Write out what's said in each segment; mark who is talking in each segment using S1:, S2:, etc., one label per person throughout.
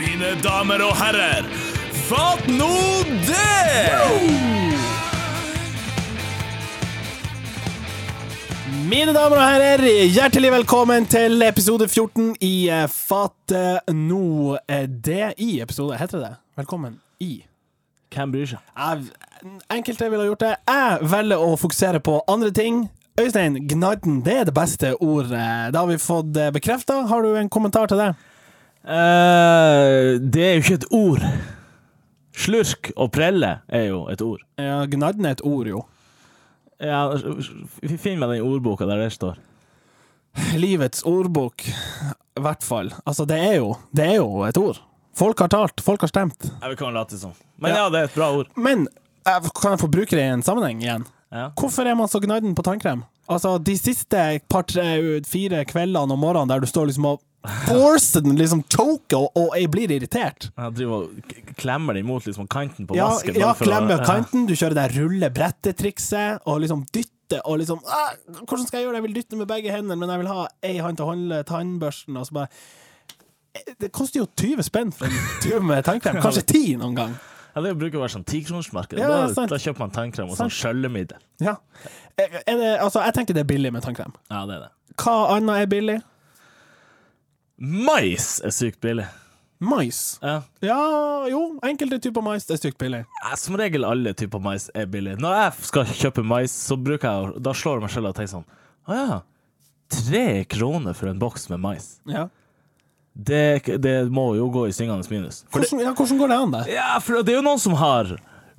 S1: mine damer og herrer. Fatt nå det!
S2: Mine damer og herrer, hjertelig velkommen til episode 14 i eh, Fat eh, nå eh, det i episode, heter det det? Velkommen i.
S1: Hvem bryr seg?
S2: Jeg, enkelte ville gjort det. Jeg velger å fokusere på andre ting. Øystein, gnadden, det er det beste ordet. Det har vi fått eh, bekrefta. Har du en kommentar til det?
S1: Eh, det er jo ikke et ord. Slurk og prelle er jo et ord.
S2: Ja, gnadden er et ord, jo.
S1: Ja, s- s- Finn meg den ordboka der det står.
S2: Livets ordbok, i hvert fall. Altså, det er jo, det er jo et ord. Folk har talt, folk har stemt.
S1: Jeg vil kan late som. Men ja.
S2: Ja.
S1: det er et bra ord.
S2: Men jeg- kan jeg få bruke det i en sammenheng igjen?
S1: Ja.
S2: Hvorfor er man så gnadden på tannkrem? Altså, de siste par-tre fire kveldene om morgenen der du står liksom og forcer den, liksom choker, og, og jeg blir irritert.
S1: Jeg driver og k- k- klemmer det imot liksom kanten på
S2: Ja,
S1: vasken.
S2: ja
S1: bare for å-
S2: klemmer
S1: Ja.
S2: kanten, du kjører det rulle-brettet-trikset, og liksom dytter, og liksom «Ah, Hvordan skal jeg gjøre det? Jeg vil dytte med begge hendene, men jeg vil ha ei hånd til å holde tannbørsten, og så bare eh, Det koster jo 20 spenn for en tube med tannkrem. Kanskje 10 noen gang.
S1: Ja, det bruker å være sånn tikronersmarked.
S2: Ja,
S1: da,
S2: sant.
S1: da kjøper man tannkrem og sånn skjøllemiddel.
S2: Ja. Er det, altså, jeg tenker det er billig med tannkrem.
S1: Ja, det er det.
S2: Hva annet er billig?
S1: Mais er sykt billig.
S2: Mais.
S1: Ja.
S2: Ja, jo, enkelte typer mais er stygt billig.
S1: Ja, Som regel alle typer mais er billig. Når jeg skal kjøpe mais, så bruker jeg, å- da slår jeg meg selv og tenker sånn Å ja, tre kroner for en boks med mais.
S2: Ja.
S1: Det, det må jo gå i syngende minus. For det,
S2: Hvordan, ja, hvordan går det an, det?
S1: ja, for det er jo noen som har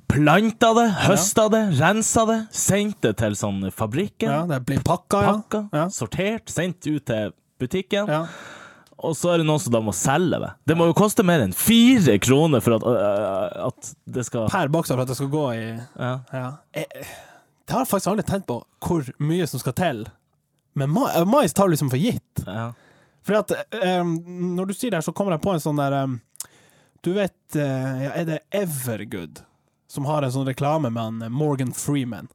S1: planta det, høsta det, rensa det, sendt det til sånn fabrikken,
S2: Ja, det blir pakka, ja.
S1: pakka,
S2: Ja.
S1: sortert, sendt ut til butikken.
S2: ja.
S1: Og så er det noen som da må selge det. Det må jo koste mer enn fire kroner for at, øh, at det skal
S2: Per boks for at det skal gå i
S1: ja.
S2: ja. Jeg, det har jeg faktisk aldri tenkt på hvor mye som skal til. Men ma- eh, mais tar du liksom for gitt.
S1: Ja.
S2: Fordi at eh, når du sier det, her, så kommer jeg på en sånn der eh, Du vet, eh, ja, er det Evergood som har en sånn reklame med han eh, Morgan Freeman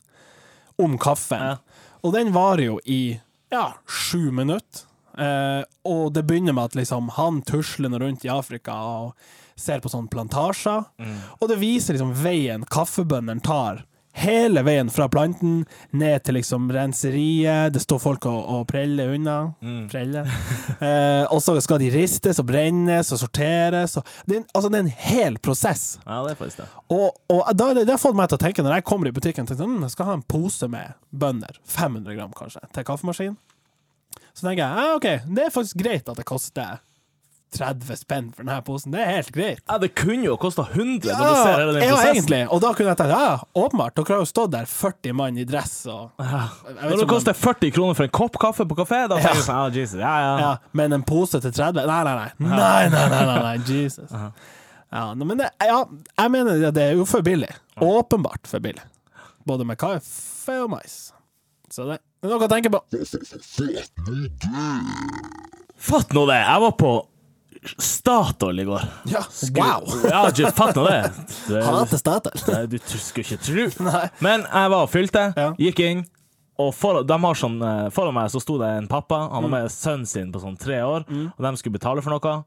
S2: om kaffen?
S1: Ja.
S2: Og den varer jo i ja, sju minutter. Eh, og det begynner med at liksom, han tuslende rundt i Afrika og ser på sånne plantasjer. Og det viser liksom veien kaffebøndene tar. Hele veien fra planten ned til liksom renseriet. Det står folk og, og preller unna. Preller. Eh, og så skal de ristes og brennes og sorteres. Og det, er en- altså, det er en hel prosess.
S1: ja, det er faktisk det.
S2: Og, og da, det det har fått meg til å tenke, når jeg kommer i butikken tenker jeg, sånn, «Mm, jeg skal ha en pose med bønder, 500 gram kanskje, til kaffemaskinen. Så tenker jeg, ja, ok, det er faktisk greit at det koster 30 spenn for denne posen, det er helt greit.
S1: Ja, det kunne jo kosta 100
S2: Ja,
S1: når du ser hele den
S2: ja,
S1: prosessen.
S2: egentlig. Og da kunne jeg tenkt, ja, åpenbart, dere har jo stått der 40 mann i dress og... Jeg vet
S1: Når
S2: ikke
S1: det
S2: om
S1: koster 40 kroner for en kopp kaffe på kafé, da tenker du sånn, ja, Jesus, ja, ja.
S2: Ja, men en pose til 30? Nei, nei, nei. Nei, nei, nei, nei, nei. Jesus. Ja, nei, men det, ja, jeg mener det, det er jo for billig. Åpenbart for billig. Både med kaffe og mais. Så det det er noe å tenke på.
S1: Fatt nå det! Jeg var på Statoil i går.
S2: Ja,
S1: Skulle-
S2: wow!
S1: Ja, just, fatt nå det. det
S2: Han heter Statoil.
S1: Nei, du t- skulle ikke tro.
S2: Nei.
S1: Men jeg var og fylte,
S2: Ja.
S1: gikk inn, og for, de har sånn, eh, foran meg så sto det en pappa.
S2: Mm.
S1: Han var med sønnen sin på sånn tre år, og de skulle betale for noe.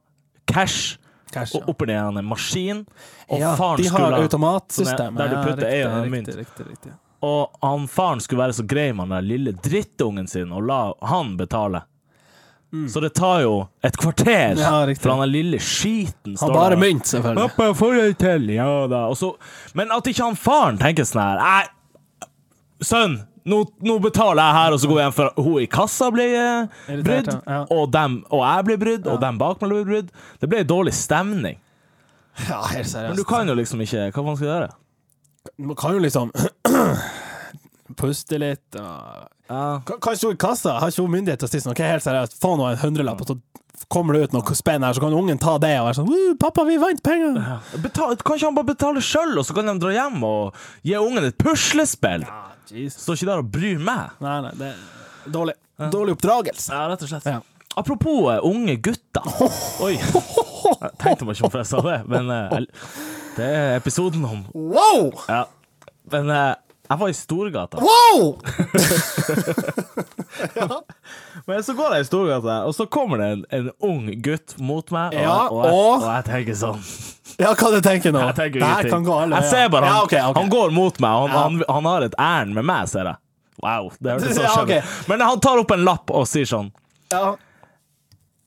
S1: Cash.
S2: Cash, ja.
S1: Og oppi der er en maskin, og
S2: Ja,
S1: faren
S2: de har
S1: skulle sånn
S2: automatsystemet.
S1: Der du putter
S2: ja,
S1: en
S2: riktig,
S1: mynt.
S2: Riktig, riktig, riktig.
S1: Og han faren skulle være så grei med den der lille drittungen sin og la han betale. Så det tar jo et kvarter
S2: Ja, riktig.
S1: for han der lille skiten
S2: Han bare mynt, selvfølgelig.
S1: Pappa, får jeg til? Ja da. Og så, men at ikke han faren tenker sånn her Nei, sønn, nå, nå betaler jeg her, og så går jeg hjem, for hun i kassa blir eh,
S2: Irritert,
S1: brydd.
S2: ja.
S1: Og, dem, og jeg blir brydd, og dem bak meg blir brydd. Det ble dårlig stemning.
S2: Ja, helt
S1: Men du
S2: seriøst.
S1: kan jo liksom ikke Hva man skal gjøre?
S2: Man kan jo liksom puste litt og
S1: Ja.
S2: K- Kanskje hun i kassa har ikke hun myndighet til å si sånn, ok, helt seriøst, få nå en hundrelapp, og så kommer det ut noe spenn her, så kan ungen ta det og være sånn, «Woo, pappa, vi vant penger!
S1: Betal, kan ikke han bare betale sjøl, og så kan de dra hjem og gi ungen et puslespill?
S2: Ah, Jesus.
S1: Står ikke der og bryr meg.
S2: Nei, nei, det er dårlig. Dårlig oppdragelse.
S1: Ja, rett og slett.
S2: Ja.
S1: Apropos eh, unge gutter. Oi. Jeg tenkte meg ikke om for jeg sa det, men eh, jeg- Det er episoden om
S2: Wow!
S1: Ja. Men eh, Jeg var i Storgata.
S2: Wow!
S1: Men så går jeg i Storgata, og så kommer det en, en ung gutt mot meg, og,
S2: Ja,
S1: og, jeg,
S2: og-
S1: og jeg tenker sånn
S2: Ja, hva du tenker nå?
S1: Jeg tenker
S2: Det her
S1: ingenting.
S2: kan gå alle
S1: Jeg
S2: veier.
S1: ser bare han,
S2: ja, ok, ok.
S1: han går mot meg, og han,
S2: Ja.
S1: han, han har et ærend med meg, ser jeg. Wow, det hørtes så
S2: Ja, ok.
S1: skjønt ut. Men han tar opp en lapp og sier sånn
S2: Ja.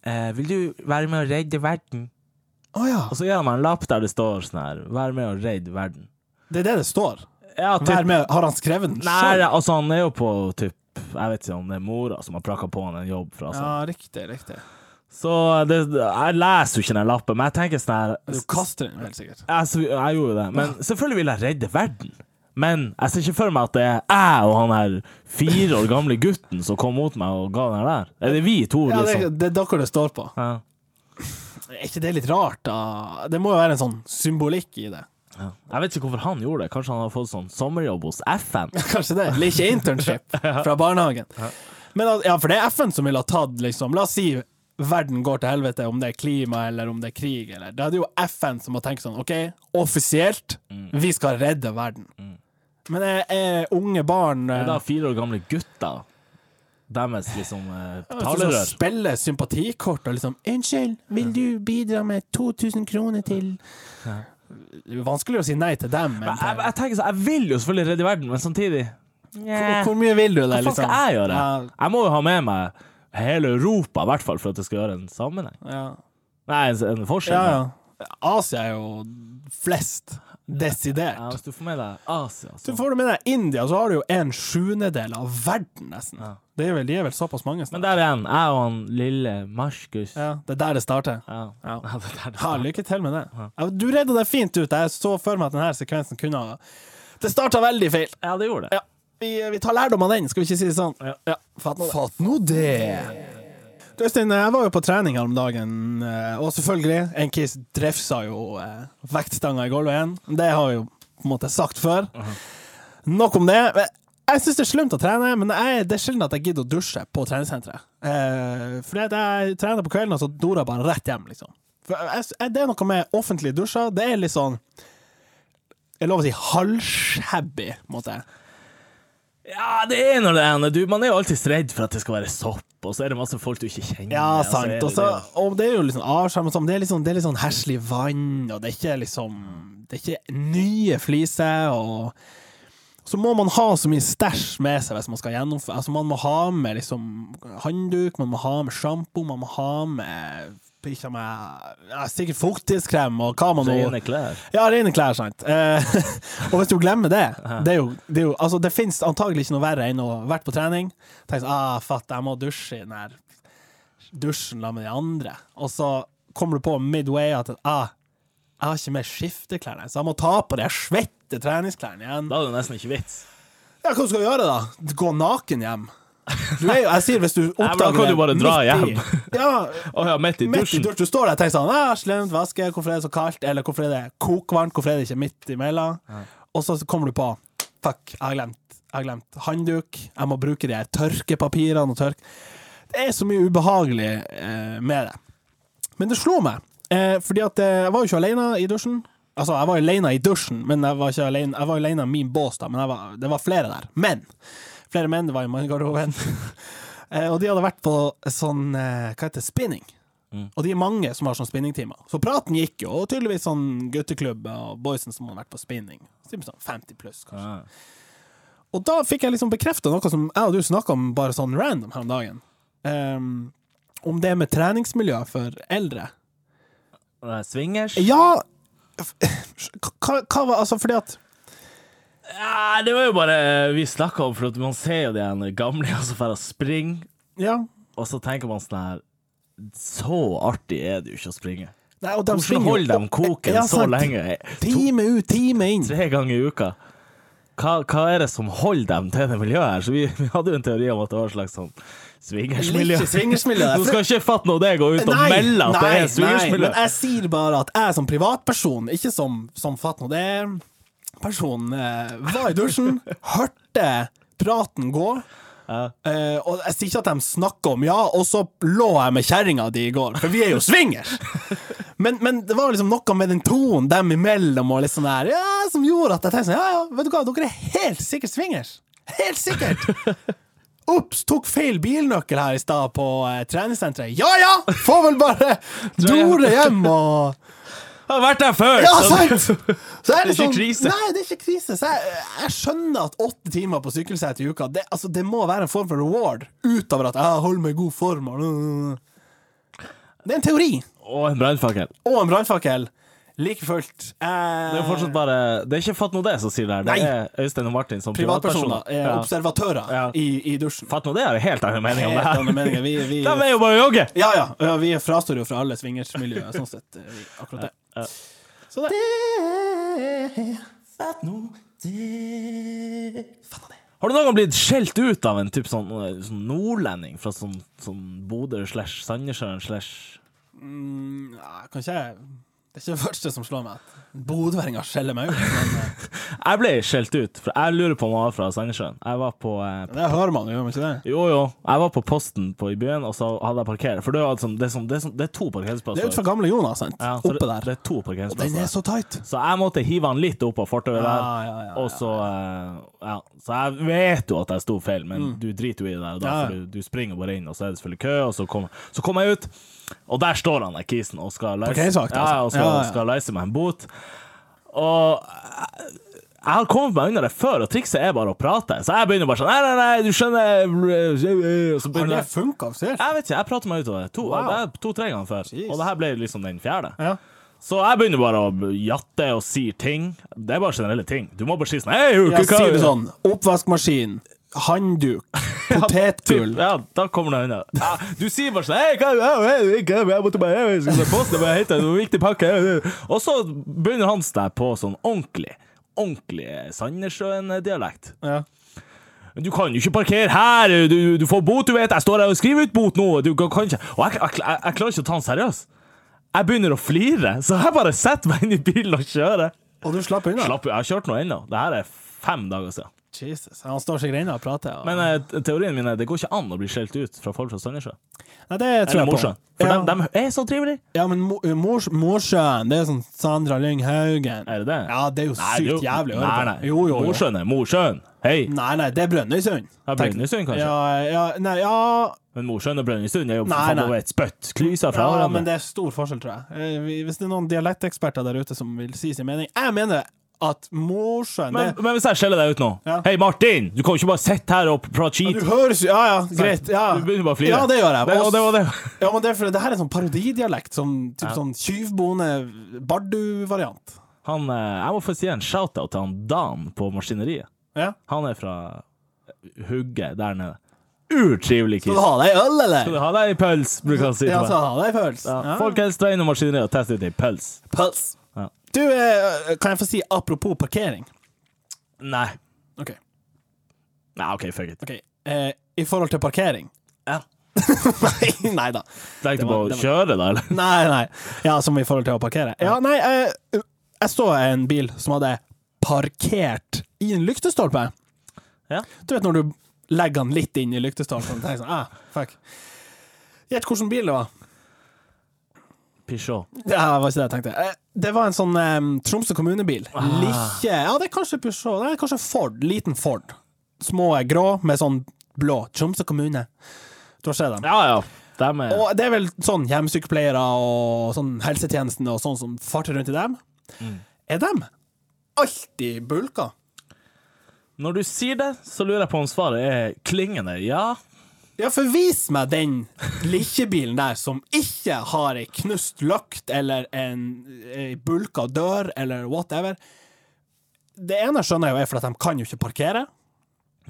S1: eh, Vil du være med å redde verden?
S2: Å ja.
S1: Og så gir han meg en lapp der det står sånn her Vær med å redde verden.
S2: Det er det det står.
S1: Ja, typ,
S2: Vær med. Har han skrevet den?
S1: Nei,
S2: selv?
S1: altså han er jo på typ Jeg vet ikke om det er mora som har prakka på han en jobb fra seg.
S2: Ja, riktig, riktig.
S1: Så det, jeg leser jo ikke den lappen, men jeg tenker sånn her
S2: Du kaster den jo helt sikkert.
S1: jeg, så- jeg gjorde det, men
S2: Ah.
S1: selvfølgelig vil jeg redde verden. Men jeg ser ikke for meg at det er jeg og han her fire år gamle gutten som kom mot meg og ga den her der. Er det vi to,
S2: Ja, det,
S1: liksom?
S2: det er dere det står på.
S1: Ja.
S2: Er ikke det litt rart, da? Det må jo være en sånn symbolikk i det.
S1: Ja. Jeg vet ikke hvorfor han gjorde det. Kanskje han har fått sånn sommerjobb hos FN?
S2: Kanskje det. Eller ikke internship fra barnehagen. Men at, ja, for det er FN som ville ha tatt, liksom. La oss si verden går til helvete, om det er klima eller om det er krig. Eller. Det hadde jo FN som må tenke sånn, OK, offisielt,
S1: Mm.
S2: vi skal redde verden. Men er, er unge barn
S1: Det
S2: eh,
S1: er da fire år gamle gutter deres liksom eh,
S2: som
S1: talerør.
S2: spiller sympatikort og liksom 'Unnskyld, vil du bidra med 2000 kroner til' Det er jo Vanskelig å si nei til dem. enn
S1: Jeg, jeg,
S2: til-
S1: jeg tenker sånn, jeg vil jo selvfølgelig redde verden, men samtidig
S2: Hvor, hvor mye vil du det,
S1: Hva faen
S2: liksom?
S1: skal jeg gjøre?
S2: Ja,
S1: Jeg må jo ha med meg hele Europa, i hvert fall, for at det skal gjøre en sammenheng.
S2: ja.
S1: Nei, en, en forskjell.
S2: Ja, ja. Asia er jo flest,
S1: Ja,
S2: desidert.
S1: hvis du får med deg Asia,
S2: Så
S1: så
S2: får du med deg India, så har du jo en sjuendedel av verden, nesten.
S1: Ja.
S2: Det er vel, de er vel såpass mange
S1: Men
S2: snart.
S1: der igjen, jeg og han lille Marskus ja.
S2: Ja, det er der det starter.
S1: Ja.
S2: Ja.
S1: det er det.
S2: Ja, lykke til med det. Ja, du redda deg fint ut. Jeg så for meg at denne sekvensen kunne ha Det starta veldig feil.
S1: ja, det gjorde det.
S2: Ja. Vi, vi tar lærdom av den, skal vi ikke si det sånn?
S1: Ja.
S2: Fatt nå det. Du, Øystein, jeg var jo på trening her om dagen, eh, og selvfølgelig, en kis drefsa jo eh, vektstanga i gulvet igjen. Det har vi jo på en måte sagt før. Nok om det. Men Jeg syns det er slumt å trene, men jeg, det er sjelden at jeg gidder å dusje på treningssenteret. Eh, fordi at jeg trener på kvelden, og så dorer jeg bare rett hjem, liksom. For jeg, jeg, det er noe med offentlige dusjer. Det er litt sånn Jeg lover å si halvshabby, på en måte.
S1: Ja, det er når det er når du, Man er jo alltid redd for at det skal være sopp, og så er det masse folk du ikke kjenner.
S2: Ja,
S1: og så altså, er
S2: sant.
S1: det
S2: Og, så,
S1: det.
S2: og det er jo liksom avskjerm og sånn. Det er litt sånn- det er litt sånn heslig vann, og det er ikke liksom Det er ikke nye fliser, og så må man ha så mye stæsj med seg hvis man skal gjennomføre. Altså, man må ha med liksom håndduk, man må ha med sjampo, man må ha med ikke med, ja, Sikkert fuktighetskrem og hva man nå
S1: liksom Rene klær.
S2: ja, rene klær, sant. Eh, og hvis du glemmer det Det, er jo, det, er jo, altså, det finnes antagelig ikke noe verre enn å ha vært på trening. Tenk sånn ah, fatt, jeg må dusje i den her dusjen sammen med de andre. Og så kommer du på midway at ah, jeg har ikke med skifteklærne, så jeg må ta på de her svette treningsklærne igjen.
S1: Da er det nesten ikke vits.
S2: Ja, hva skal du gjøre, da? Gå naken hjem? Du er jo, jeg sier hvis du
S1: men da
S2: oppdager
S1: kan du bare dra
S2: midt i- Ja,
S1: Å ja, midt i
S2: midt i
S1: dusjen.
S2: dusjen. Du står der og tenker sånn ah, Slemt væske, hvorfor er det så kaldt? Eller hvorfor er det kokvarmt? Hvorfor er det ikke midt imellom? Og så kommer du på Fuck, jeg har glemt Jeg har glemt håndduk. Jeg må bruke de her tørkepapirene og tørk Det er så mye ubehagelig eh, med det. Men det slo meg, eh, fordi at eh, jeg var jo ikke alene i dusjen. Altså, jeg var jo alene i dusjen, men jeg var ikke alene Jeg var jo alene i min bås, da, men jeg var, det var flere der. Men! Flere menn, det var i mannegarderoben. eh, og de hadde vært på sånn eh, Hva heter det? Spinning.
S1: Mm.
S2: Og de er mange som har sånn spinningtimer. Så praten gikk jo, og tydeligvis sånn gutteklubb og boysen som har vært på spinning. Så typ Sånn 50 pluss, kanskje.
S1: Ja.
S2: Og da fikk jeg liksom bekrefta noe som jeg og du snakka om bare sånn random her om dagen. Ehm, om det med treningsmiljø for eldre.
S1: Og det er Swingers?
S2: Ja f- Hva hva var altså fordi at
S1: Ja, det var jo bare Vi snakka om, for at man ser jo de her gamle og så drar og springer,
S2: Ja.
S1: og så tenker man sånn her Så artig er det jo ikke å springe.
S2: Nei, og de
S1: Hvordan
S2: springer jo
S1: holder de
S2: opp-
S1: koken
S2: Ja,
S1: så
S2: sant.
S1: lenge? To,
S2: Time ut, time inn.
S1: tre ganger i uka. Hva, hva er det som holder dem til det miljøet her? Så vi, vi hadde jo en teori om at det var et slags sånn swingersmiljø.
S2: Ikke swingersmiljø.
S1: Du skal ikke fatte noe det går ut og
S2: Nei,
S1: melde at det
S2: nei,
S1: er swingersmiljø.
S2: Nei, men jeg sier bare at jeg som privatperson, ikke som, som fatt nå det er person, eh, var i dusjen, hørte praten gå,
S1: Ja.
S2: eh, og jeg sier ikke at de snakker om ja, og så lå jeg med kjerringa di i går, for vi er jo swingers! Men, men det var liksom noe med den tonen dem imellom og litt sånn der, ja, som gjorde at jeg tenkte sånn, ja, ja, vet du hva, dere er helt sikkert swingers. Helt sikkert! Ops, tok feil bilnøkkel her i stad på eh, treningssenteret. Ja ja! Får vel bare dore hjem og
S1: Jeg har vært der før!
S2: Ja,
S1: så-
S2: sant! Så
S1: Det
S2: er
S1: er
S2: det
S1: ikke
S2: sånn,
S1: krise.
S2: Nei, det er ikke krise. Så jeg, jeg skjønner at åtte timer på sykkelsetet i uka, det, altså, det må være en form for reward, utover at jeg holder meg i god form. og- Det er en teori.
S1: Og en brannfakkel.
S2: Og en brannfakkel. Like fullt. Eh,
S1: Det er jo fortsatt bare Det er ikke Fatt nå det som sier det her. Det
S2: Nei.
S1: er Øystein og Martin som
S2: privatpersoner.
S1: privatpersoner.
S2: eh, Observatører
S1: Ja.
S2: i, i dusjen.
S1: Fatt nå det har jeg helt annen mening om det
S2: Helt annen
S1: her.
S2: meninger. Vi, vi,
S1: De er jo bare å jogge!
S2: ja, ja, ja, vi frastår jo fra alle swingersmiljøer, sånn sett. eh, Vi, akkurat det. Så det Fatt nå det Fatt nå det.
S1: Har du noen gang blitt skjelt ut av en typ sånn, sånn nordlending fra sånn, sånn Bodø slash Sandnessjøen slash
S2: Mm, ja, kan ikke jeg Det er ikke det første som slår meg. Bodøværinger skjeller meg ut. Men eh,
S1: Jeg ble skjelt ut, for jeg lurer på om han var fra Sandnessjøen. Jeg var på eh,
S2: det hører man jo, gjør man ikke det?
S1: Jo, jo. Jeg var på Posten på, i byen, og så hadde jeg parkert. For det, var sånn, det, er sånn, det, er sånn, det er to
S2: Det
S1: parkeringsplasser.
S2: er ut fra gamle Jonas, sant?
S1: Ja, så
S2: Oppe
S1: det,
S2: der.
S1: Det er to
S2: Den
S1: parkeringsplasser.
S2: er så tight.
S1: Så jeg måtte hive han litt opp av fortauet der.
S2: Ja, ja, ja, Mm.
S1: Og så eh, Ja. Så jeg vet jo at jeg sto feil, men du driter jo i det der. og Da,
S2: Ja, ja.
S1: for du, du springer bare inn, og så er det selvfølgelig kø, og så kommer så kom jeg ut, og der står han der kisen og skal leise,
S2: Parkeringsvakt, altså.
S1: ja, og skal,
S2: Ja, ja.
S1: skal leise meg en bot. Og jeg har kommet meg unna det før, og trikset er bare å prate. Så jeg begynner bare sånn Nei, nei, nei, du skjønner Og så
S2: Har
S1: begynner
S2: det
S1: jeg
S2: funka? Ser
S1: Jeg vet ikke, jeg prater meg ut av det to-
S2: Wow.
S1: det er to-tre ganger før,
S2: Jeez.
S1: og det her ble liksom den fjerde.
S2: Ja.
S1: Så jeg begynner bare å jatte og si ting. Det er bare generelle ting. Du må bare si sånn Hei, hva
S2: Ja, sier du sånn Oppvaskmaskin, handduk, potetgull
S1: Ja, da kommer det unna. Ja, du sier bare sånn Hei, hva hei, hei, hva- Jeg måtte bare hei, jeg skulle på posten, men jeg hentet en viktig pakke. Og så begynner han der på sånn ordentlig, ordentlig Sandnessjøen-dialekt.
S2: Ja.
S1: Men du kan jo ikke parkere her! Du, du får bot, du vet! Jeg står her og skriver ut bot nå! Du kan kan ikke Og jeg, jeg, jeg, jeg klarer ikke å ta han seriøst. Jeg begynner å flire, så jeg bare setter meg inn i bilen og kjører.
S2: Og du slapp unna?
S1: Slapp, jeg har kjørt noe ennå. Det her er fem dager siden.
S2: Jesus, Han står seg inne og prater. Og...
S1: Men eh, teorien min er det går ikke an å bli skjelt ut fra folk fra Sandnessjø.
S2: Nei, det
S1: Eller
S2: tror jeg på.
S1: Mosjøen. For
S2: ja.
S1: de, er så trivelige.
S2: ja, men Mo- eh, Mors- Mosjøen, det er sånn Sandra Lyng Haugen.
S1: Er det det?
S2: Ja, det er jo
S1: Nei, det er
S2: sykt
S1: jo-
S2: jævlig å
S1: Nei,
S2: høre
S1: nei.
S2: på. Jo, jo, jo.
S1: Mosjøen er Mosjøen. Hei!
S2: Nei, nei, det er Brønnøysund.
S1: Ja,
S2: Tenk-
S1: Brønnøysund, kanskje?
S2: Ja, ja, nei, ja,
S1: Men Mosjøen og Brønnøysund er jo for
S2: Nei,
S1: faen
S2: nei.
S1: bare et spytt. Klyser fra
S2: ja, men
S1: hverandre.
S2: det er stor forskjell, tror jeg. Eh, vi- Hvis det er noen dialekteksperter der ute som vil si sin mening Jeg mener at Mosjøen
S1: Men,
S2: det-
S1: men hvis jeg skjeller deg ut nå
S2: Ja.
S1: Hei, Martin! Du kan jo ikke bare sitte her og prate
S2: Du
S1: skit.
S2: høres jo Ja, ja, greit. Ja.
S1: Du begynner bare å flire.
S2: Ja, det gjør jeg.
S1: Det, og det var det.
S2: Ja, men det, er fordi det her er sånn parodidialekt. Sånn, typ sånn tjuvboende Bardu-variant.
S1: Han, eh, jeg må få si en shout-out til han Dan på Maskineriet.
S2: Ja.
S1: Han er fra Hugge der nede. Urtrivelig
S2: Skal
S1: kis.
S2: du ha deg øl, eller?
S1: Skal du ha deg en pøls, bruker han si til
S2: Ja,
S1: meg.
S2: skal du ha deg pøls?
S1: Ja. Folkens, dra innom maskineriet og test ut ei pøls.
S2: Pøls.
S1: Ja.
S2: Du, eh, kan jeg få si apropos parkering?
S1: Nei.
S2: OK.
S1: Nei, OK, fuck it.
S2: ok eh, I forhold til parkering
S1: Ja.
S2: Nei, nei da.
S1: Tenkte
S2: Det
S1: på
S2: var-
S1: å
S2: det var-
S1: kjøre, da, eller?
S2: Nei, nei. Ja, som i forhold til å parkere. Ja, nei, eh, jeg så en bil som hadde parkert i en lyktestolpe.
S1: Ja.
S2: Du vet når du legger den litt inn i lyktestolpen og tenker sånn, ah, fuck. Gjett hvilken bil det var.
S1: Peugeot.
S2: Det her var ikke det jeg tenkte. Eh, Det var en sånn em, Tromsø kommunebil. Like, ja, det er kanskje Peugeot. Det er kanskje Ford. Liten Ford. Små eh, grå med sånn blå. Tromsø kommune. Du har sett dem?
S1: Ja, ja. Dem er
S2: Og det er vel sånn hjemmesykepleiere og sånn helsetjenesten og sånn som farter rundt i dem. Er dem alltid bulka?
S1: Når du sier det, så lurer jeg på om svaret er klingende ja.
S2: Ja, for vis meg den lillebilen der som ikke har ei knust løkt eller en ei bulka dør eller whatever. Det ene skjønner jeg jo er fordi at de kan jo ikke parkere.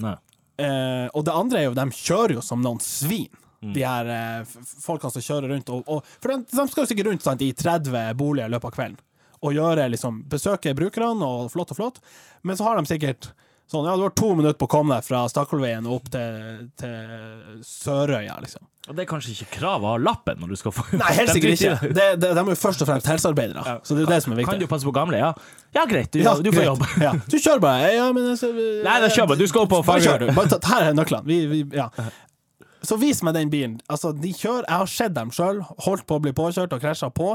S1: Nei.
S2: Eh, og det andre er jo, de kjører jo som noen svin.
S1: Mm.
S2: De her eh, f- f- folkene som kjører rundt og, og For de, de skal jo sikkert rundt sant, i 30 boliger i løpet av kvelden og gjøre liksom, besøke brukerne, og flott og flott. Men så har de sikkert sånn Ja, du har to minutter på å komme deg fra Stakkolveien og opp til, til Sørøya, liksom.
S1: Og det er kanskje ikke kravet å ha lappen når du skal få
S2: Nei, helt
S1: Den
S2: sikkert
S1: driter i
S2: ikke. Det, det, de er jo først og fremst helsearbeidere, så det er jo det som er
S1: det. Kan du
S2: viktig.
S1: passe på gamle, ja? Ja, greit, du, du får
S2: greit.
S1: jobb.
S2: Ja. Du kjører bare. Ja, men jeg,
S1: Nei, da kjør bare. Du skal opp og
S2: Bare
S1: fange
S2: kjør, du. Bare ta, her er nøklene. Vi, vi, ja. Så vis meg den bilen. Altså, de kjører, jeg har sett dem sjøl, holdt på å bli påkjørt og krasja på.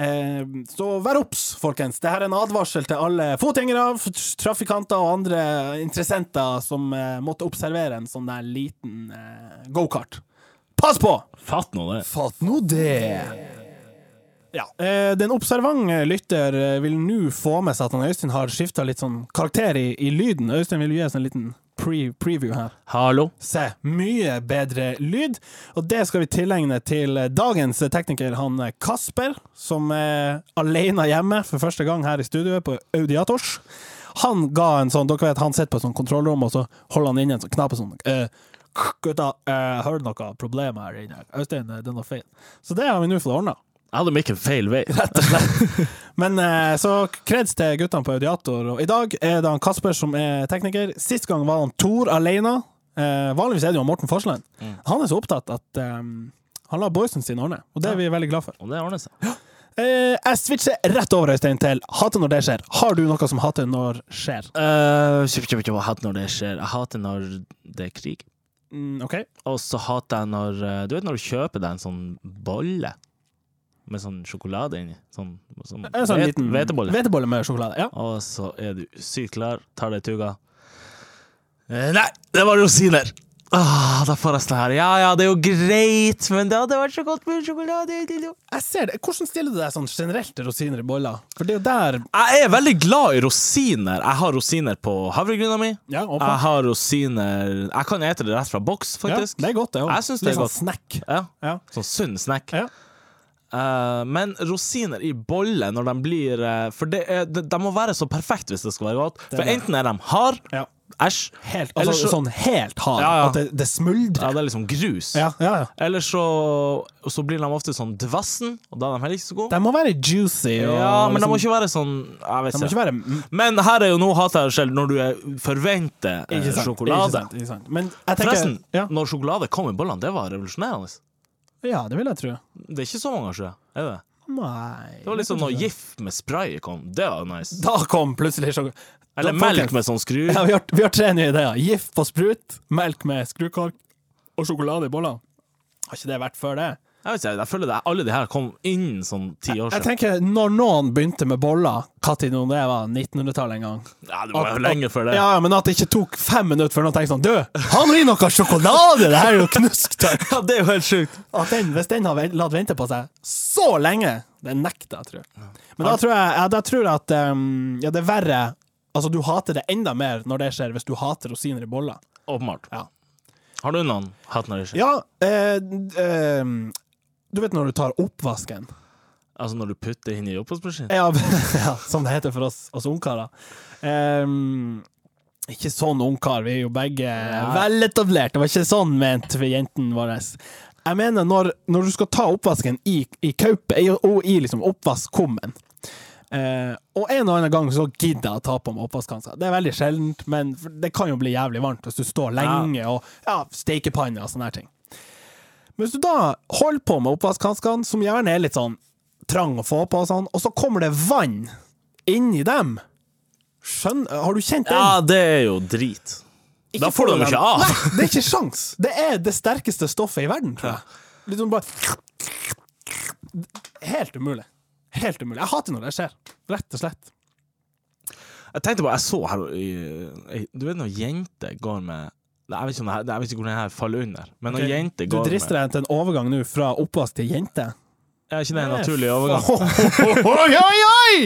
S2: Eh, så vær obs, folkens. Dette er en advarsel til alle fotgjengere, f- trafikanter og andre interessenter som eh, måtte observere en sånn der liten eh, gokart. Pass på!
S1: Fatt nå det.
S3: Fatt nå det!
S2: Ja. Eh, den observante lytter eh, vil nå få med seg at han Øystein har skifta litt sånn karakter i, i lyden. Øystein vil gi oss en liten pre preview her.
S1: Hallo.
S2: Se, mye bedre lyd, og det skal vi tilegne til dagens tekniker, han Kasper, som er alene hjemme for første gang her i studioet på Audiators. Han ga en sånn, dere vet, han sitter på et sånt kontrollrom, og så holder han inn en sånn knapp og sånn. eh, Gutta, jeg hører noe problem her inne. Øystein, eh, det er noe feil. Så det har vi nå fått ordna.
S1: Jeg hadde mikken feil vei.
S2: Men eh, så kreds til guttene på Audiator. Og i dag er det han Kasper som er tekniker. Sist gang var han Tor alene. Eh, vanligvis er det jo han Morten Forsland.
S1: Mm.
S2: Han er så opptatt at eh, han lar boysen sine ordne, og det er vi veldig glad for.
S1: Og det ordner seg.
S2: Eh, jeg switcher rett over Øystein, til hater når det skjer. Har du noe som hater når skjer?
S1: Eh, kjøp, kjøp, kjøp, jeg hater når det skjer. Jeg hater når det er krig.
S2: Mm, OK.
S1: Og så hater jeg når eh, Du vet når du kjøper deg en sånn bolle med sånn sjokolade inni? Sånn, sånn,
S2: En sånn
S1: hvet-
S2: liten
S1: hvetebolle.
S2: hvetebolle med sjokolade. Ja.
S1: Og så er du sykt klar, tar deg tuga. Eh, Nei, det var rosiner! Ah, da får jeg sånn her. Ja ja, det er jo greit, men det hadde vært så godt med sjokolade.
S2: Jeg ser det. Hvordan stiller du deg sånn generelt til rosiner i boller? For det er jo der
S1: Jeg er veldig glad i rosiner. Jeg har rosiner på havregryna mi.
S2: Ja, opp-
S1: Jeg har rosiner Jeg kan ete det rett fra boks, Ah, faktisk.
S2: Ja, det er godt, det òg.
S1: Jeg synes det er godt.
S2: Sånn snack.
S1: Ja,
S2: Ja.
S1: Sånn sunn snack.
S2: Ja.
S1: Eh, men rosiner i bolle når de blir eh, For det er, de, de må være så perfekte hvis det skal være godt. For
S2: er det.
S1: enten er de hard,
S2: Ja.
S1: æsj,
S2: Helt,
S1: eller
S2: altså,
S1: så
S2: sånn helt hard.
S1: Ja, ja.
S2: At det, det smuldrer.
S1: Ja, det er liksom grus.
S2: Ja, ja, ja.
S1: Eller så, og så blir de ofte sånn dvassen, og da er de heller ikke så gode.
S2: De må være juicy. Og,
S1: Ja, men de
S2: liksom,
S1: må ikke være sånn Jeg vet
S2: de må
S1: ikke.
S2: ikke være mm,
S1: Men her er jo nå hater jeg selv når du er- forventer eh,
S2: ikke sant, Ikke
S1: sjokolade.
S2: sant, ikke sant. Men jeg tenker
S1: Forresten,
S2: ja,
S1: når sjokolade kom i bollene, det var revolusjonerende.
S2: ja, det vil jeg tro.
S1: Det er ikke så mange år siden. Er det?
S2: Nei
S1: det var liksom når GIF med spray kom. Det var nice.
S2: Da kom plutselig sjokolade.
S1: Eller melk med sånn skru.
S2: ja, vi, har, vi har tre nye ideer. Gift på sprut, melk med skrukork og sjokolade i boller. Har ikke det vært før det?
S1: Jeg vet ikke, jeg føler det, alle de her kom innen sånn ti år
S2: Jeg
S1: siden.
S2: tenker Når noen begynte med boller, når nå det var 1900-tallet en gang
S1: Ja, det var jo lenge før det.
S2: Ja, ja, Men at det ikke tok fem minutter før noen tenkte sånn Du, han vil noe sjokolade! Det her er jo knusktørr!
S1: Ja, det er jo helt sjukt.
S2: At den, hvis den har ven- latt vente på seg så lenge, det nekter jeg, tror jeg. Men da tror jeg, ja, da tror jeg at um, ja, det er verre Altså, du hater det enda mer når det skjer, hvis du hater rosiner i boller.
S1: Åpenbart.
S2: Ja.
S1: Har du noen hatt når det skjer?
S2: Ja, eh, eh, du vet når du tar oppvasken?
S1: Altså når du putter inn i oppvaskmaskinen?
S2: Ja, ja, som det heter for oss, oss ungkarer. Ehm, ikke sånn ungkar, vi er jo begge veletablert. Det var ikke sånn ment for jentene våre. Jeg mener, når, når du skal ta oppvasken i, i kaupet, i- og i liksom oppvaskkummen eh, og en og annen gang så gidder jeg å ta på meg oppvaskhanska. Det er veldig sjeldent, men for- det kan jo bli jævlig varmt hvis du står lenge og ja, stekepanne og sånne her ting. Men hvis du da holder på med oppvaskhanskene, som gjerne er litt sånn trang å få på, og, sånn, og så kommer det vann inni dem Skjønner, Har du kjent den?
S1: Ja, det er jo drit.
S2: Ikke
S1: Da får du dem ikke av.
S2: Nei, det er ikke sjans. Det er det sterkeste stoffet i verden, tror jeg. Litt sånn bare Helt umulig. Helt umulig. Jeg hater når det skjer, rett og slett.
S1: Jeg tenkte bare, jeg så her i- i- Du vet når jenter går med Jeg vet ikke, om det her, jeg vet ikke hvor den her faller under, men når jenter
S2: du
S1: går
S2: drister deg til en overgang nå fra oppvask til jente.
S1: med Er ikke det en naturlig overgang?
S2: oi, oi, oi!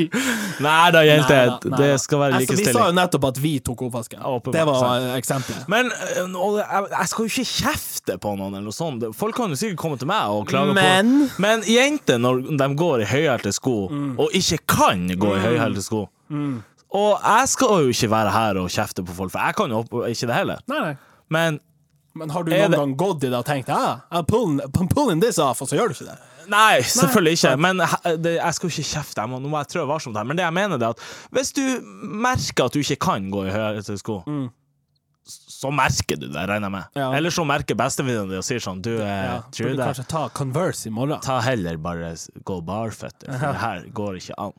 S1: Nei da, jenter.
S2: Nei da, nei da.
S1: det skal være
S2: Altså, vi sa jo
S1: likestilling.
S2: nettopp at vi tok oppvasken.
S1: Åpenbart,
S2: Det var
S1: sant.
S2: eh, eksempelet.
S1: Men eh, nå- jeg, jeg skal jo ikke kjefte på noen, eller noe sånt. Folk kan jo sikkert komme til meg og klage
S2: Men- Mm.
S1: på Men jenter, når de går i høyhælte sko, og ikke kan gå i høyhælte sko Og jeg skal jo ikke være her og kjefte på folk, for jeg kan jo opp- ikke det heller.
S2: Nei, nei.
S1: Men
S2: Men har du
S1: Er
S2: noen
S1: det-
S2: gang gått i det og tenkt ah, I'm pulling, I'm pulling this off, og så gjør du ikke det?
S1: Nei, selvfølgelig ikke. Men he- det, jeg skal jo ikke kjefte. Jeg må, nå må jeg trø varsomt her. Men det jeg mener, det er at hvis du merker at du ikke kan gå i høyhælte sko, s- så merker du det, regner jeg med.
S2: Mm. Ja.
S1: Eller så merker bestevenninnen din og sier sånn Du, eh,
S2: Burde
S1: Trude,
S2: kanskje ta Converse i morgen.
S1: ta heller bare s- gå barføtter, for det her går ikke an.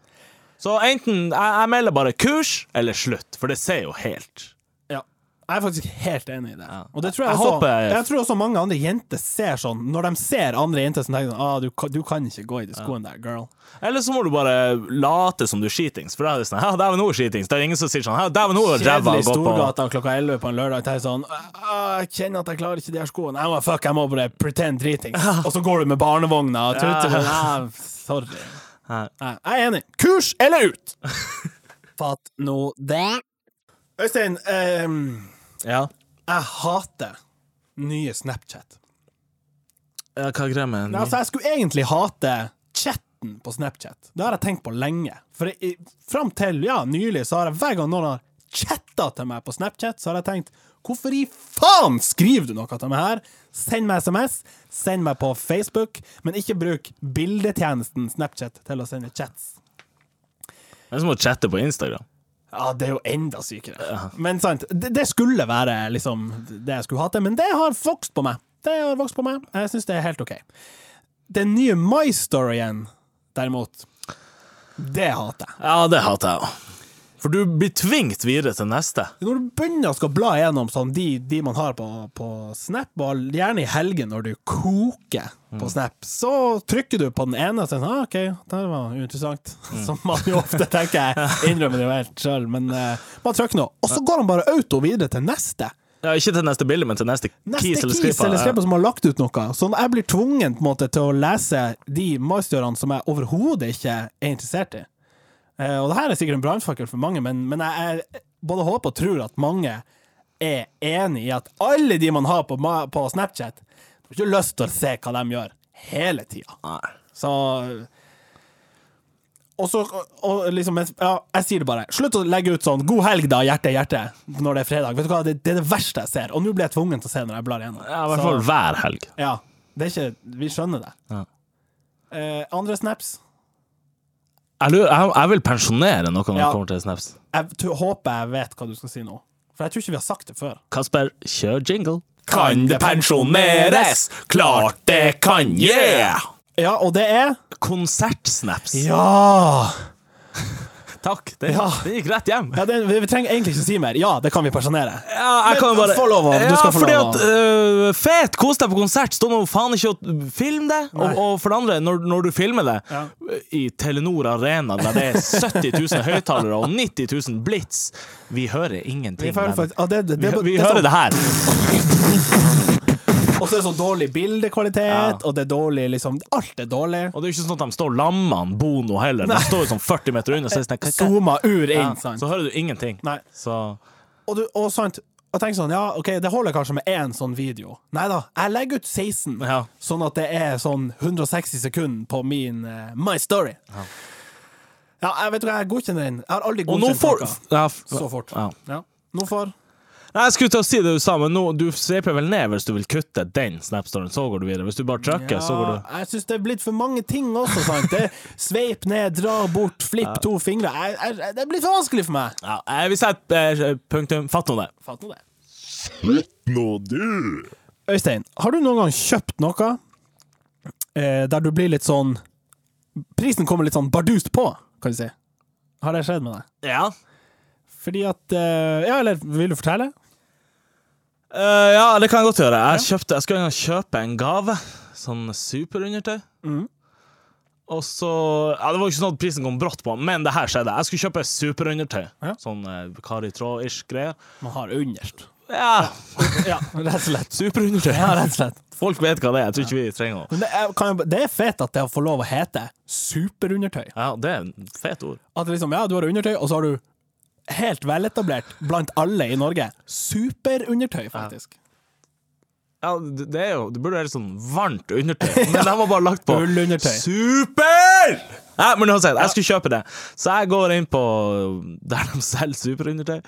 S1: Så enten jeg, jeg melder bare kurs eller slutt, for det ser jo helt
S2: Ja. Jeg er faktisk helt enig i det.
S1: Ja.
S2: Og det tror
S1: Jeg
S2: jeg, også,
S1: håper jeg-
S2: jeg... tror også mange andre jenter ser sånn, når de ser andre jenter som tenker sånn ah, du, kan- du kan ikke gå i de skoene der, girl.
S1: Eller så må du bare late som du er skitings, for da er det sånn Hæ, dæven, nå er skitings. Det er ingen som sier sånn Hæ, dæven, nå er ræva
S2: Kjedelig
S1: å gå på.
S2: Storgata klokka 11 på en lørdag tenker jeg sånn «Ah, Jeg kjenner at jeg klarer ikke de her skoene. Jeg må, fuck, jeg må bare pretend dritings. Og så går du med barnevogna og tuter.
S1: Ja.
S2: men, «Ah, Sorry.
S1: Ja.
S2: Nei, Jeg er enig. Kurs eller ut? Fatt nå det. Øystein, ehm,
S1: Ja.
S2: jeg hater nye Snapchat.
S1: Ja, hva er greia med
S2: Nei, altså, jeg skulle egentlig hate chatten på Snapchat. Det har jeg tenkt på lenge. For i, fram til ja, nylig så har jeg hver gang noen har chatta til meg på Snapchat, så har jeg tenkt Hvorfor i faen skriver du noe til meg her? Send meg SMS, send meg på Facebook, men ikke bruk bildetjenesten Snapchat til å sende chats.
S1: Det er som å chatte på Instagram.
S2: Ja, det er jo enda sykere. Men sant, det, det skulle være liksom det jeg skulle hate, men det har vokst på meg. Det har vokst på meg. Jeg syns det er helt OK. Den nye My Storyen, derimot, det hater jeg.
S1: Ja, det hater jeg òg. For du blir tvingt videre til neste.
S2: Når du begynner å skal bla gjennom sånn, de, de man har på, på Snap, og gjerne i helgen når du koker på Snap, så trykker du på den ene og sier sånn, ah, OK, det var uinteressant. Som man jo ofte tenker. Jeg innrømmer det jo helt sjøl, men eh, man trykker nå. Og så går han bare auto videre til neste.
S1: Ja, ikke til neste bilde, men til neste,
S2: Neste
S1: kis eller skripa.
S2: eller
S1: Ja.
S2: skrepa som har lagt ut noe. Så jeg blir tvungen på en måte, til å lese de masterene som jeg overhodet ikke er interessert i. Eh, og det her er sikkert en brannfakkel for mange, men, men jeg, jeg både håper og tror at mange er enig i at alle de man har på, ma- på Snapchat, du har ikke lyst til å se hva de gjør hele tida.
S1: Nei.
S2: Så Og så og liksom ja, Jeg sier det bare. Slutt å legge ut sånn 'god helg, da, hjerte, hjerte' når det er fredag. Vet du hva, Det, det er det verste jeg ser, og nå blir jeg tvungen til å se når jeg blar igjennom.
S1: Ja, i hvert
S2: Så-
S1: fall hver helg.
S2: ja, det er ikke Vi skjønner det.
S1: Ja.
S2: Eh, andre snaps
S1: Jeg, lurer, jeg, jeg vil pensjonere noe når det
S2: Ja.
S1: kommer til snaps.
S2: Jeg t håper jeg vet hva du skal si nå, for jeg tror ikke vi har sagt det før.
S1: Kasper, kjør jingle.
S2: Kan det pensjoneres?
S1: Klart det kan, yeah!
S2: Ja, og det er
S1: Konsertsnaps.
S2: Ja!
S1: Takk. Det,
S2: Ja.
S1: det gikk rett hjem.
S2: det, vi, vi trenger egentlig ikke si mer. Ja, det kan vi pensjonere.
S1: Ja, jeg
S2: Men
S1: kan bare
S2: få lov å- du
S1: ja,
S2: skal få
S1: fordi
S2: lov å-
S1: at øh, Fet, kos deg på konsert. Stå nå faen ikke og film det. Og, og for det andre, når, når du filmer det
S2: Ja.
S1: i Telenor Arena, der det er 70 000 høyttalere og 90 000 blits Vi hører ingenting.
S2: Vi, føler
S1: men-
S2: faktisk, ah, det, det,
S1: vi,
S2: det, det,
S1: vi
S2: er
S1: hører
S2: sånn-
S1: det her.
S2: Og så er det sånn dårlig bildekvalitet,
S1: Ja.
S2: og det er dårlig liksom Alt er dårlig.
S1: Og det er jo ikke sånn at de står lammene Bono heller. De står jo sånn 40 meter unna. Så, er det sånn, hva- hva-
S2: Zooma ur inn,
S1: ja,
S2: sant.
S1: så hører du ingenting.
S2: Nei.
S1: Så
S2: Og, du, og sant Og tenk sånn, ja, ok, det holder kanskje med én sånn video. Nei da, jeg legger ut 16,
S1: Ja.
S2: sånn at det er sånn 160 sekunder på min eh, My Story. Ja. jeg vet du hva, jeg godkjenner den. Jeg har aldri
S1: Og nå
S2: godkjent
S1: får
S2: noe
S1: ja, f-
S2: så fort.
S1: Ja.
S2: Ja. Nå får
S1: Nei, jeg skulle til å si det du sa, men nå, du sveper vel ned hvis du vil kutte den snapstoren. Så går du videre. Hvis du bare trykker, så går du
S2: Jeg syns det er blitt for mange ting også, sant. Det Sveip ned, dra bort, flipp to fingre. Jeg, jeg, jeg, det blir for vanskelig for meg.
S1: ja, eh, Vi setter eh, punktum. Fatt nå det.
S2: Fatt nå det.
S1: Nå du!
S2: Øystein, har du noen gang kjøpt noe eh, der du blir litt sånn Prisen kommer litt sånn bardust på, kan du si. Har det skjedd med deg?
S1: Ja.
S2: Fordi at eh, Ja, eller vil du fortelle?
S1: Eh, ja, det kan jeg godt gjøre. Jeg, kjøpte, jeg skulle en gang kjøpe en gave. Sånn superundertøy.
S2: Mhm.
S1: Og så ja, Det var jo ikke sånn at prisen kom brått på, men det her skjedde. Jeg skulle kjøpe superundertøy.
S2: Ja.
S1: Sånn eh, Kari Traa-ish greier.
S2: Man har underst.
S1: Ja,
S2: Ja, rett og slett.
S1: superundertøy.
S2: Ja, rett og slett.
S1: Folk vet hva det er. Jeg tror ikke vi trenger å
S2: Men det er, kan jeg, det er fett at det får lov å hete superundertøy.
S1: Ja, det er et fett ord.
S2: At liksom, ja, du har undertøy, og så har du helt veletablert blant alle i Norge superundertøy, faktisk.
S1: Ja, det det er jo Det burde være sånn varmt undertøy, men de har bare lagt på
S2: Ullundertøy.
S1: Super! Nei, men uansett, jeg skulle kjøpe det, så jeg går inn på der de selger superundertøy,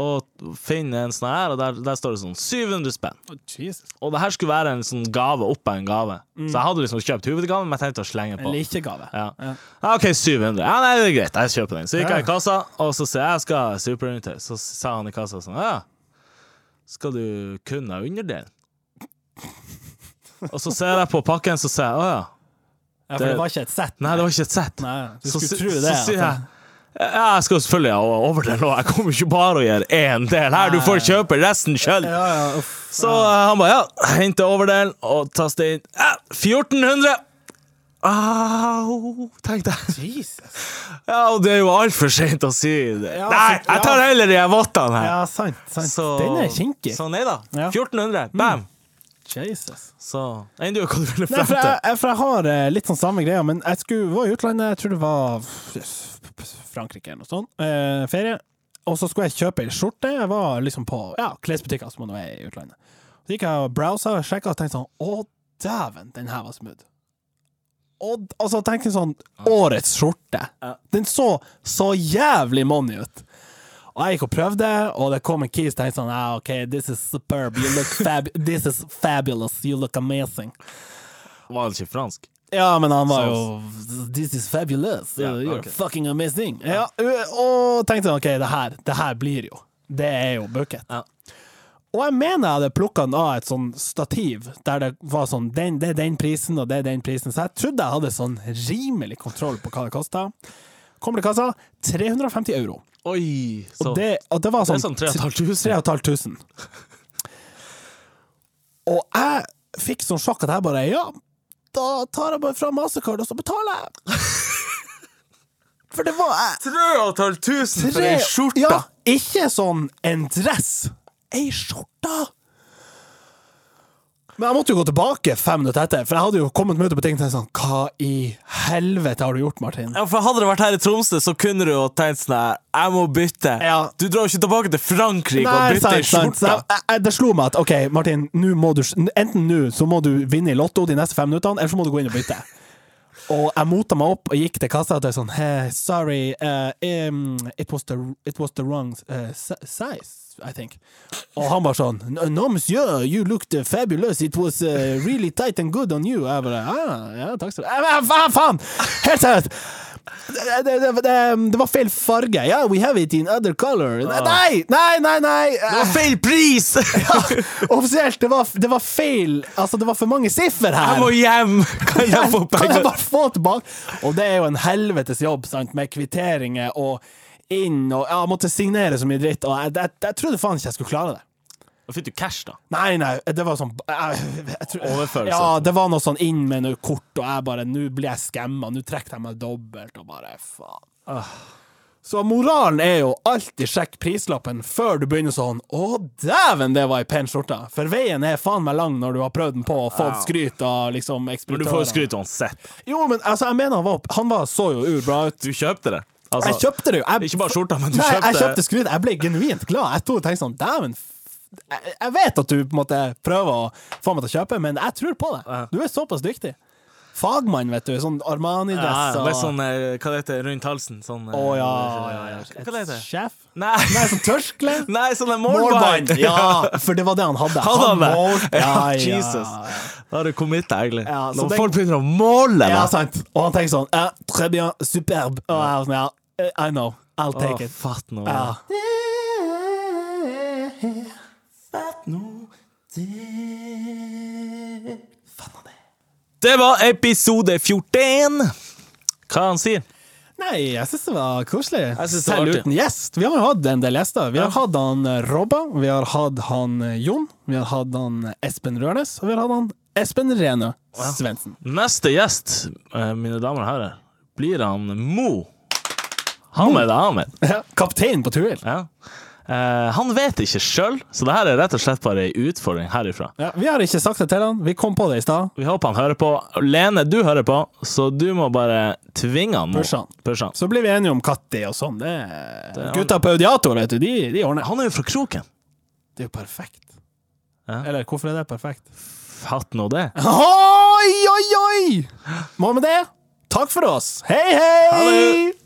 S1: og finner en sånn her, og der, der står det sånn 700 spenn.
S2: Jesus.
S1: Og det her skulle være en sånn gave oppå en gave, så jeg hadde liksom kjøpt hovedgaven, men jeg tenkte å slenge på.
S2: Eller ikke gave.
S1: Ja.
S2: Ja.
S1: Ja, OK, 700. Ja, nei, det er greit, jeg kjøper den. Så gikk
S2: Ja.
S1: jeg i kassa, og så sier jeg jeg skal ha superundertøy. Så sa han i kassa sånn Ja, skal du kun ha underdelen? Og så ser jeg på pakken, så sier jeg å ja.
S2: Ja, for det,
S1: Det-
S2: var ikke et sett.
S1: Nei, det var ikke et sett.
S2: Nei, du
S1: Så,
S2: skulle
S1: si-
S2: tro det.
S1: så
S2: at
S1: sier
S2: det-
S1: jeg Ja, jeg skal selvfølgelig ha overdel nå. Jeg kommer ikke bare å gjøre én del her, du får kjøpe resten sjøl.
S2: Ja, ja, uff.
S1: Så eh, han bare ja, hente overdel og taste inn ja, 1400! Au, tenkte jeg.
S2: Jesus.
S1: Ja, og det er jo altfor seint å si det.
S2: Ja,
S1: Nei,
S2: så-
S1: jeg tar
S2: ja.
S1: heller de her vottene her.
S2: Ja, sant. sant.
S1: Så- sånn
S2: Den er kinkig.
S1: Så nei da.
S2: Ja.
S1: 1400. Bam!
S2: Jesus.
S1: Så Enn du, hva du ville
S2: Nei,
S1: frem
S2: for
S1: til?
S2: jeg, jeg, for jeg har eh, litt sånn samme greia, men jeg skulle, var i utlandet, jeg tror det var Frankrike eller noe sånt, eh, ferie. Og så skulle jeg kjøpe ei skjorte. Jeg var liksom på ja, klesbutikker som man er i utlandet. Så gikk jeg og browsa og sjekka og tenkte sånn Å, dæven, den her var smooth. Og d- altså, tenk en sånn Årets skjorte.
S1: Ja.
S2: Den så så jævlig money ut. Og jeg gikk og prøvde, og det kom en kis og tenkte sånn ah, OK, this is superb. You look fab this is fabulous. You look amazing.
S1: Var han ikke fransk?
S2: Ja, men han var
S1: Så-
S2: jo This is fabulous.
S1: Sånn. Ja,
S2: You're
S1: ok.
S2: fucking amazing. Ja, og tenkte sånn, OK, det her, det her blir jo Det er jo bucket.
S1: Ja.
S2: Og jeg mener jeg hadde plukka den av et sånn stativ, der det var sånn den, Det er den prisen, og det er den prisen. Så jeg trodde jeg hadde sånn rimelig kontroll på hva det kosta. Kommer til kassa 350 euro.
S1: Oi!
S2: Og
S1: Så
S2: det, og det var
S1: det
S2: sånn
S1: er sånn 3500.
S2: 3500. Og jeg fikk sånn sjokk at jeg bare Ja, da tar jeg bare fram Mastercard, og så betaler jeg! For det var jeg.
S1: 3500 for ei skjorte!
S2: Ja, ikke sånn en dress. Ei skjorte! Men jeg måtte jo gå tilbake fem minutter etter, for jeg hadde jo kommet meg ut på ting og tenkt sånn Hva i helvete har du gjort, Martin?
S1: Ja, for Hadde det vært her i Tromsø, så kunne du jo tenkt sånn her Jeg må bytte.
S2: Ja.
S1: Du drar jo ikke tilbake til Frankrike og bytter i
S2: Så
S1: skjorta.
S2: jeg- jeg- jeg- Det slo meg at OK, Martin, nå må du, enten nå så må du vinne i Lotto de neste fem minuttene, eller så må du gå inn og bytte. Og jeg mota meg opp og gikk til kassa og det er sånn hey, Sorry, eh, um, it, was the, it was the wrong eh, si- size, I think. Og han bare sånn No, no, monsieur, you looked eh, fabulous. It was eh, really tight and good on you. Jeg bare ah, Ja, takk skal du ha. Eh, Hva faen? Helt seriøst! Det, det, det, det, det var feil farge. Ja, we have it in other color. Nei, nei, nei! nei.
S1: Det var feil pris!
S2: Offisielt, det var, det var feil. Altså, det var for mange siffer her.
S1: Jeg må hjem! Kan jeg få
S2: Kan jeg
S1: penger?
S2: bare få tilbake? Og det er jo en helvetes jobb, sant, med kvitteringer og inn og ja, Jeg måtte signere så mye dritt, og jeg, jeg, jeg trodde faen ikke jeg skulle klare det.
S1: Da fikk du cash, da.
S2: Nei, nei, det var sånn jeg, jeg tror,
S1: Overførelse.
S2: Ja, det var noe sånn inn med noe kort, og jeg bare Nå blir jeg skamma, nå trekker jeg meg dobbelt, og bare faen.
S1: Ah.
S2: Så moralen er jo alltid sjekk prislappen før du begynner sånn Å, dæven, det var ei pen skjorte! For veien er faen meg lang når du har prøvd den på og fått skryt av liksom
S1: Men Ah. du får jo
S2: ekspeditørene.
S1: skryt uansett.
S2: Jo, men altså, jeg mener han var Han var, så jo urbra ut.
S1: Du kjøpte det. Altså,
S2: Jeg kjøpte det jo. Jeg,
S1: Ikke bare skjorta, men du
S2: Nei,
S1: kjøpte
S2: jeg kjøpte skryt. Jeg ble genuint glad. Jeg sto og tenkte sånn Dæven, f- jeg, jeg vet at du på en måte prøver å få meg til å kjøpe, men jeg tror på det. Du er såpass dyktig. Fagmann, vet du. Sånn Armani-dress
S1: Ja,
S2: og
S1: med sånn eh, Hva det heter rundt halsen? Sånn eh,
S2: Å ja, ja, ja.
S1: Hva hva det
S2: Et
S1: heter
S2: Sjef?
S1: Nei,
S2: Nei, sånn tørkle?
S1: Nei sånn en
S2: Målbånd!
S1: målbånd!
S2: Ja, for det var det han hadde.
S1: Hadde han det?
S2: målte-
S1: Ja,
S2: Ja, ja,
S1: Jesus. Da har du kommet deg, egentlig.
S2: Ja, så
S1: Når
S2: den-
S1: folk begynner å måle
S2: Ja,
S1: deg
S2: sant. Og han tenker sånn ja, Très bien, superb. Og jeg var sånn, ja, I know. I'll
S1: Å,
S2: take it.
S1: fatt nå.
S2: Ja.
S1: Fatt nå det Det var episode 14. Hva han sier?
S2: Nei, jeg syns det var koselig.
S1: Jeg synes det var
S2: Selv
S1: artig.
S2: uten gjest. Vi har jo hatt en del gjester. Vi har hatt han eh, Robba, vi har hatt han eh, Jon, vi har hatt han eh, Espen Rørnes, og vi har hatt han Espen Renø Svendsen.
S1: Neste gjest, eh, mine damer og herrer, blir han Mo. Hamed Ahmed.
S2: Kaptein på Tuil.
S1: Ja. Eh, han vet ikke sjøl, så det her er rett og slett bare ei utfordring herifra.
S2: Ja, vi har ikke sagt det til han, vi kom på det i stad.
S1: Vi håper han hører på. Lene, du hører på, så du må bare tvinge han. Mo.
S2: Pushe han.
S1: Pushe han.
S2: Så blir vi enige om Katti og sånn. Det er-
S1: Det er han.
S2: Gutta på Audiator, vet du, de, de ordner.
S1: Han er jo fra Kroken.
S2: Det er jo perfekt.
S1: Ja.
S2: Eller hvorfor er det perfekt?
S1: Fatt nå det.
S2: Oi, oi, oi! Må med det, takk for oss. Hei, hei!
S1: Ha det!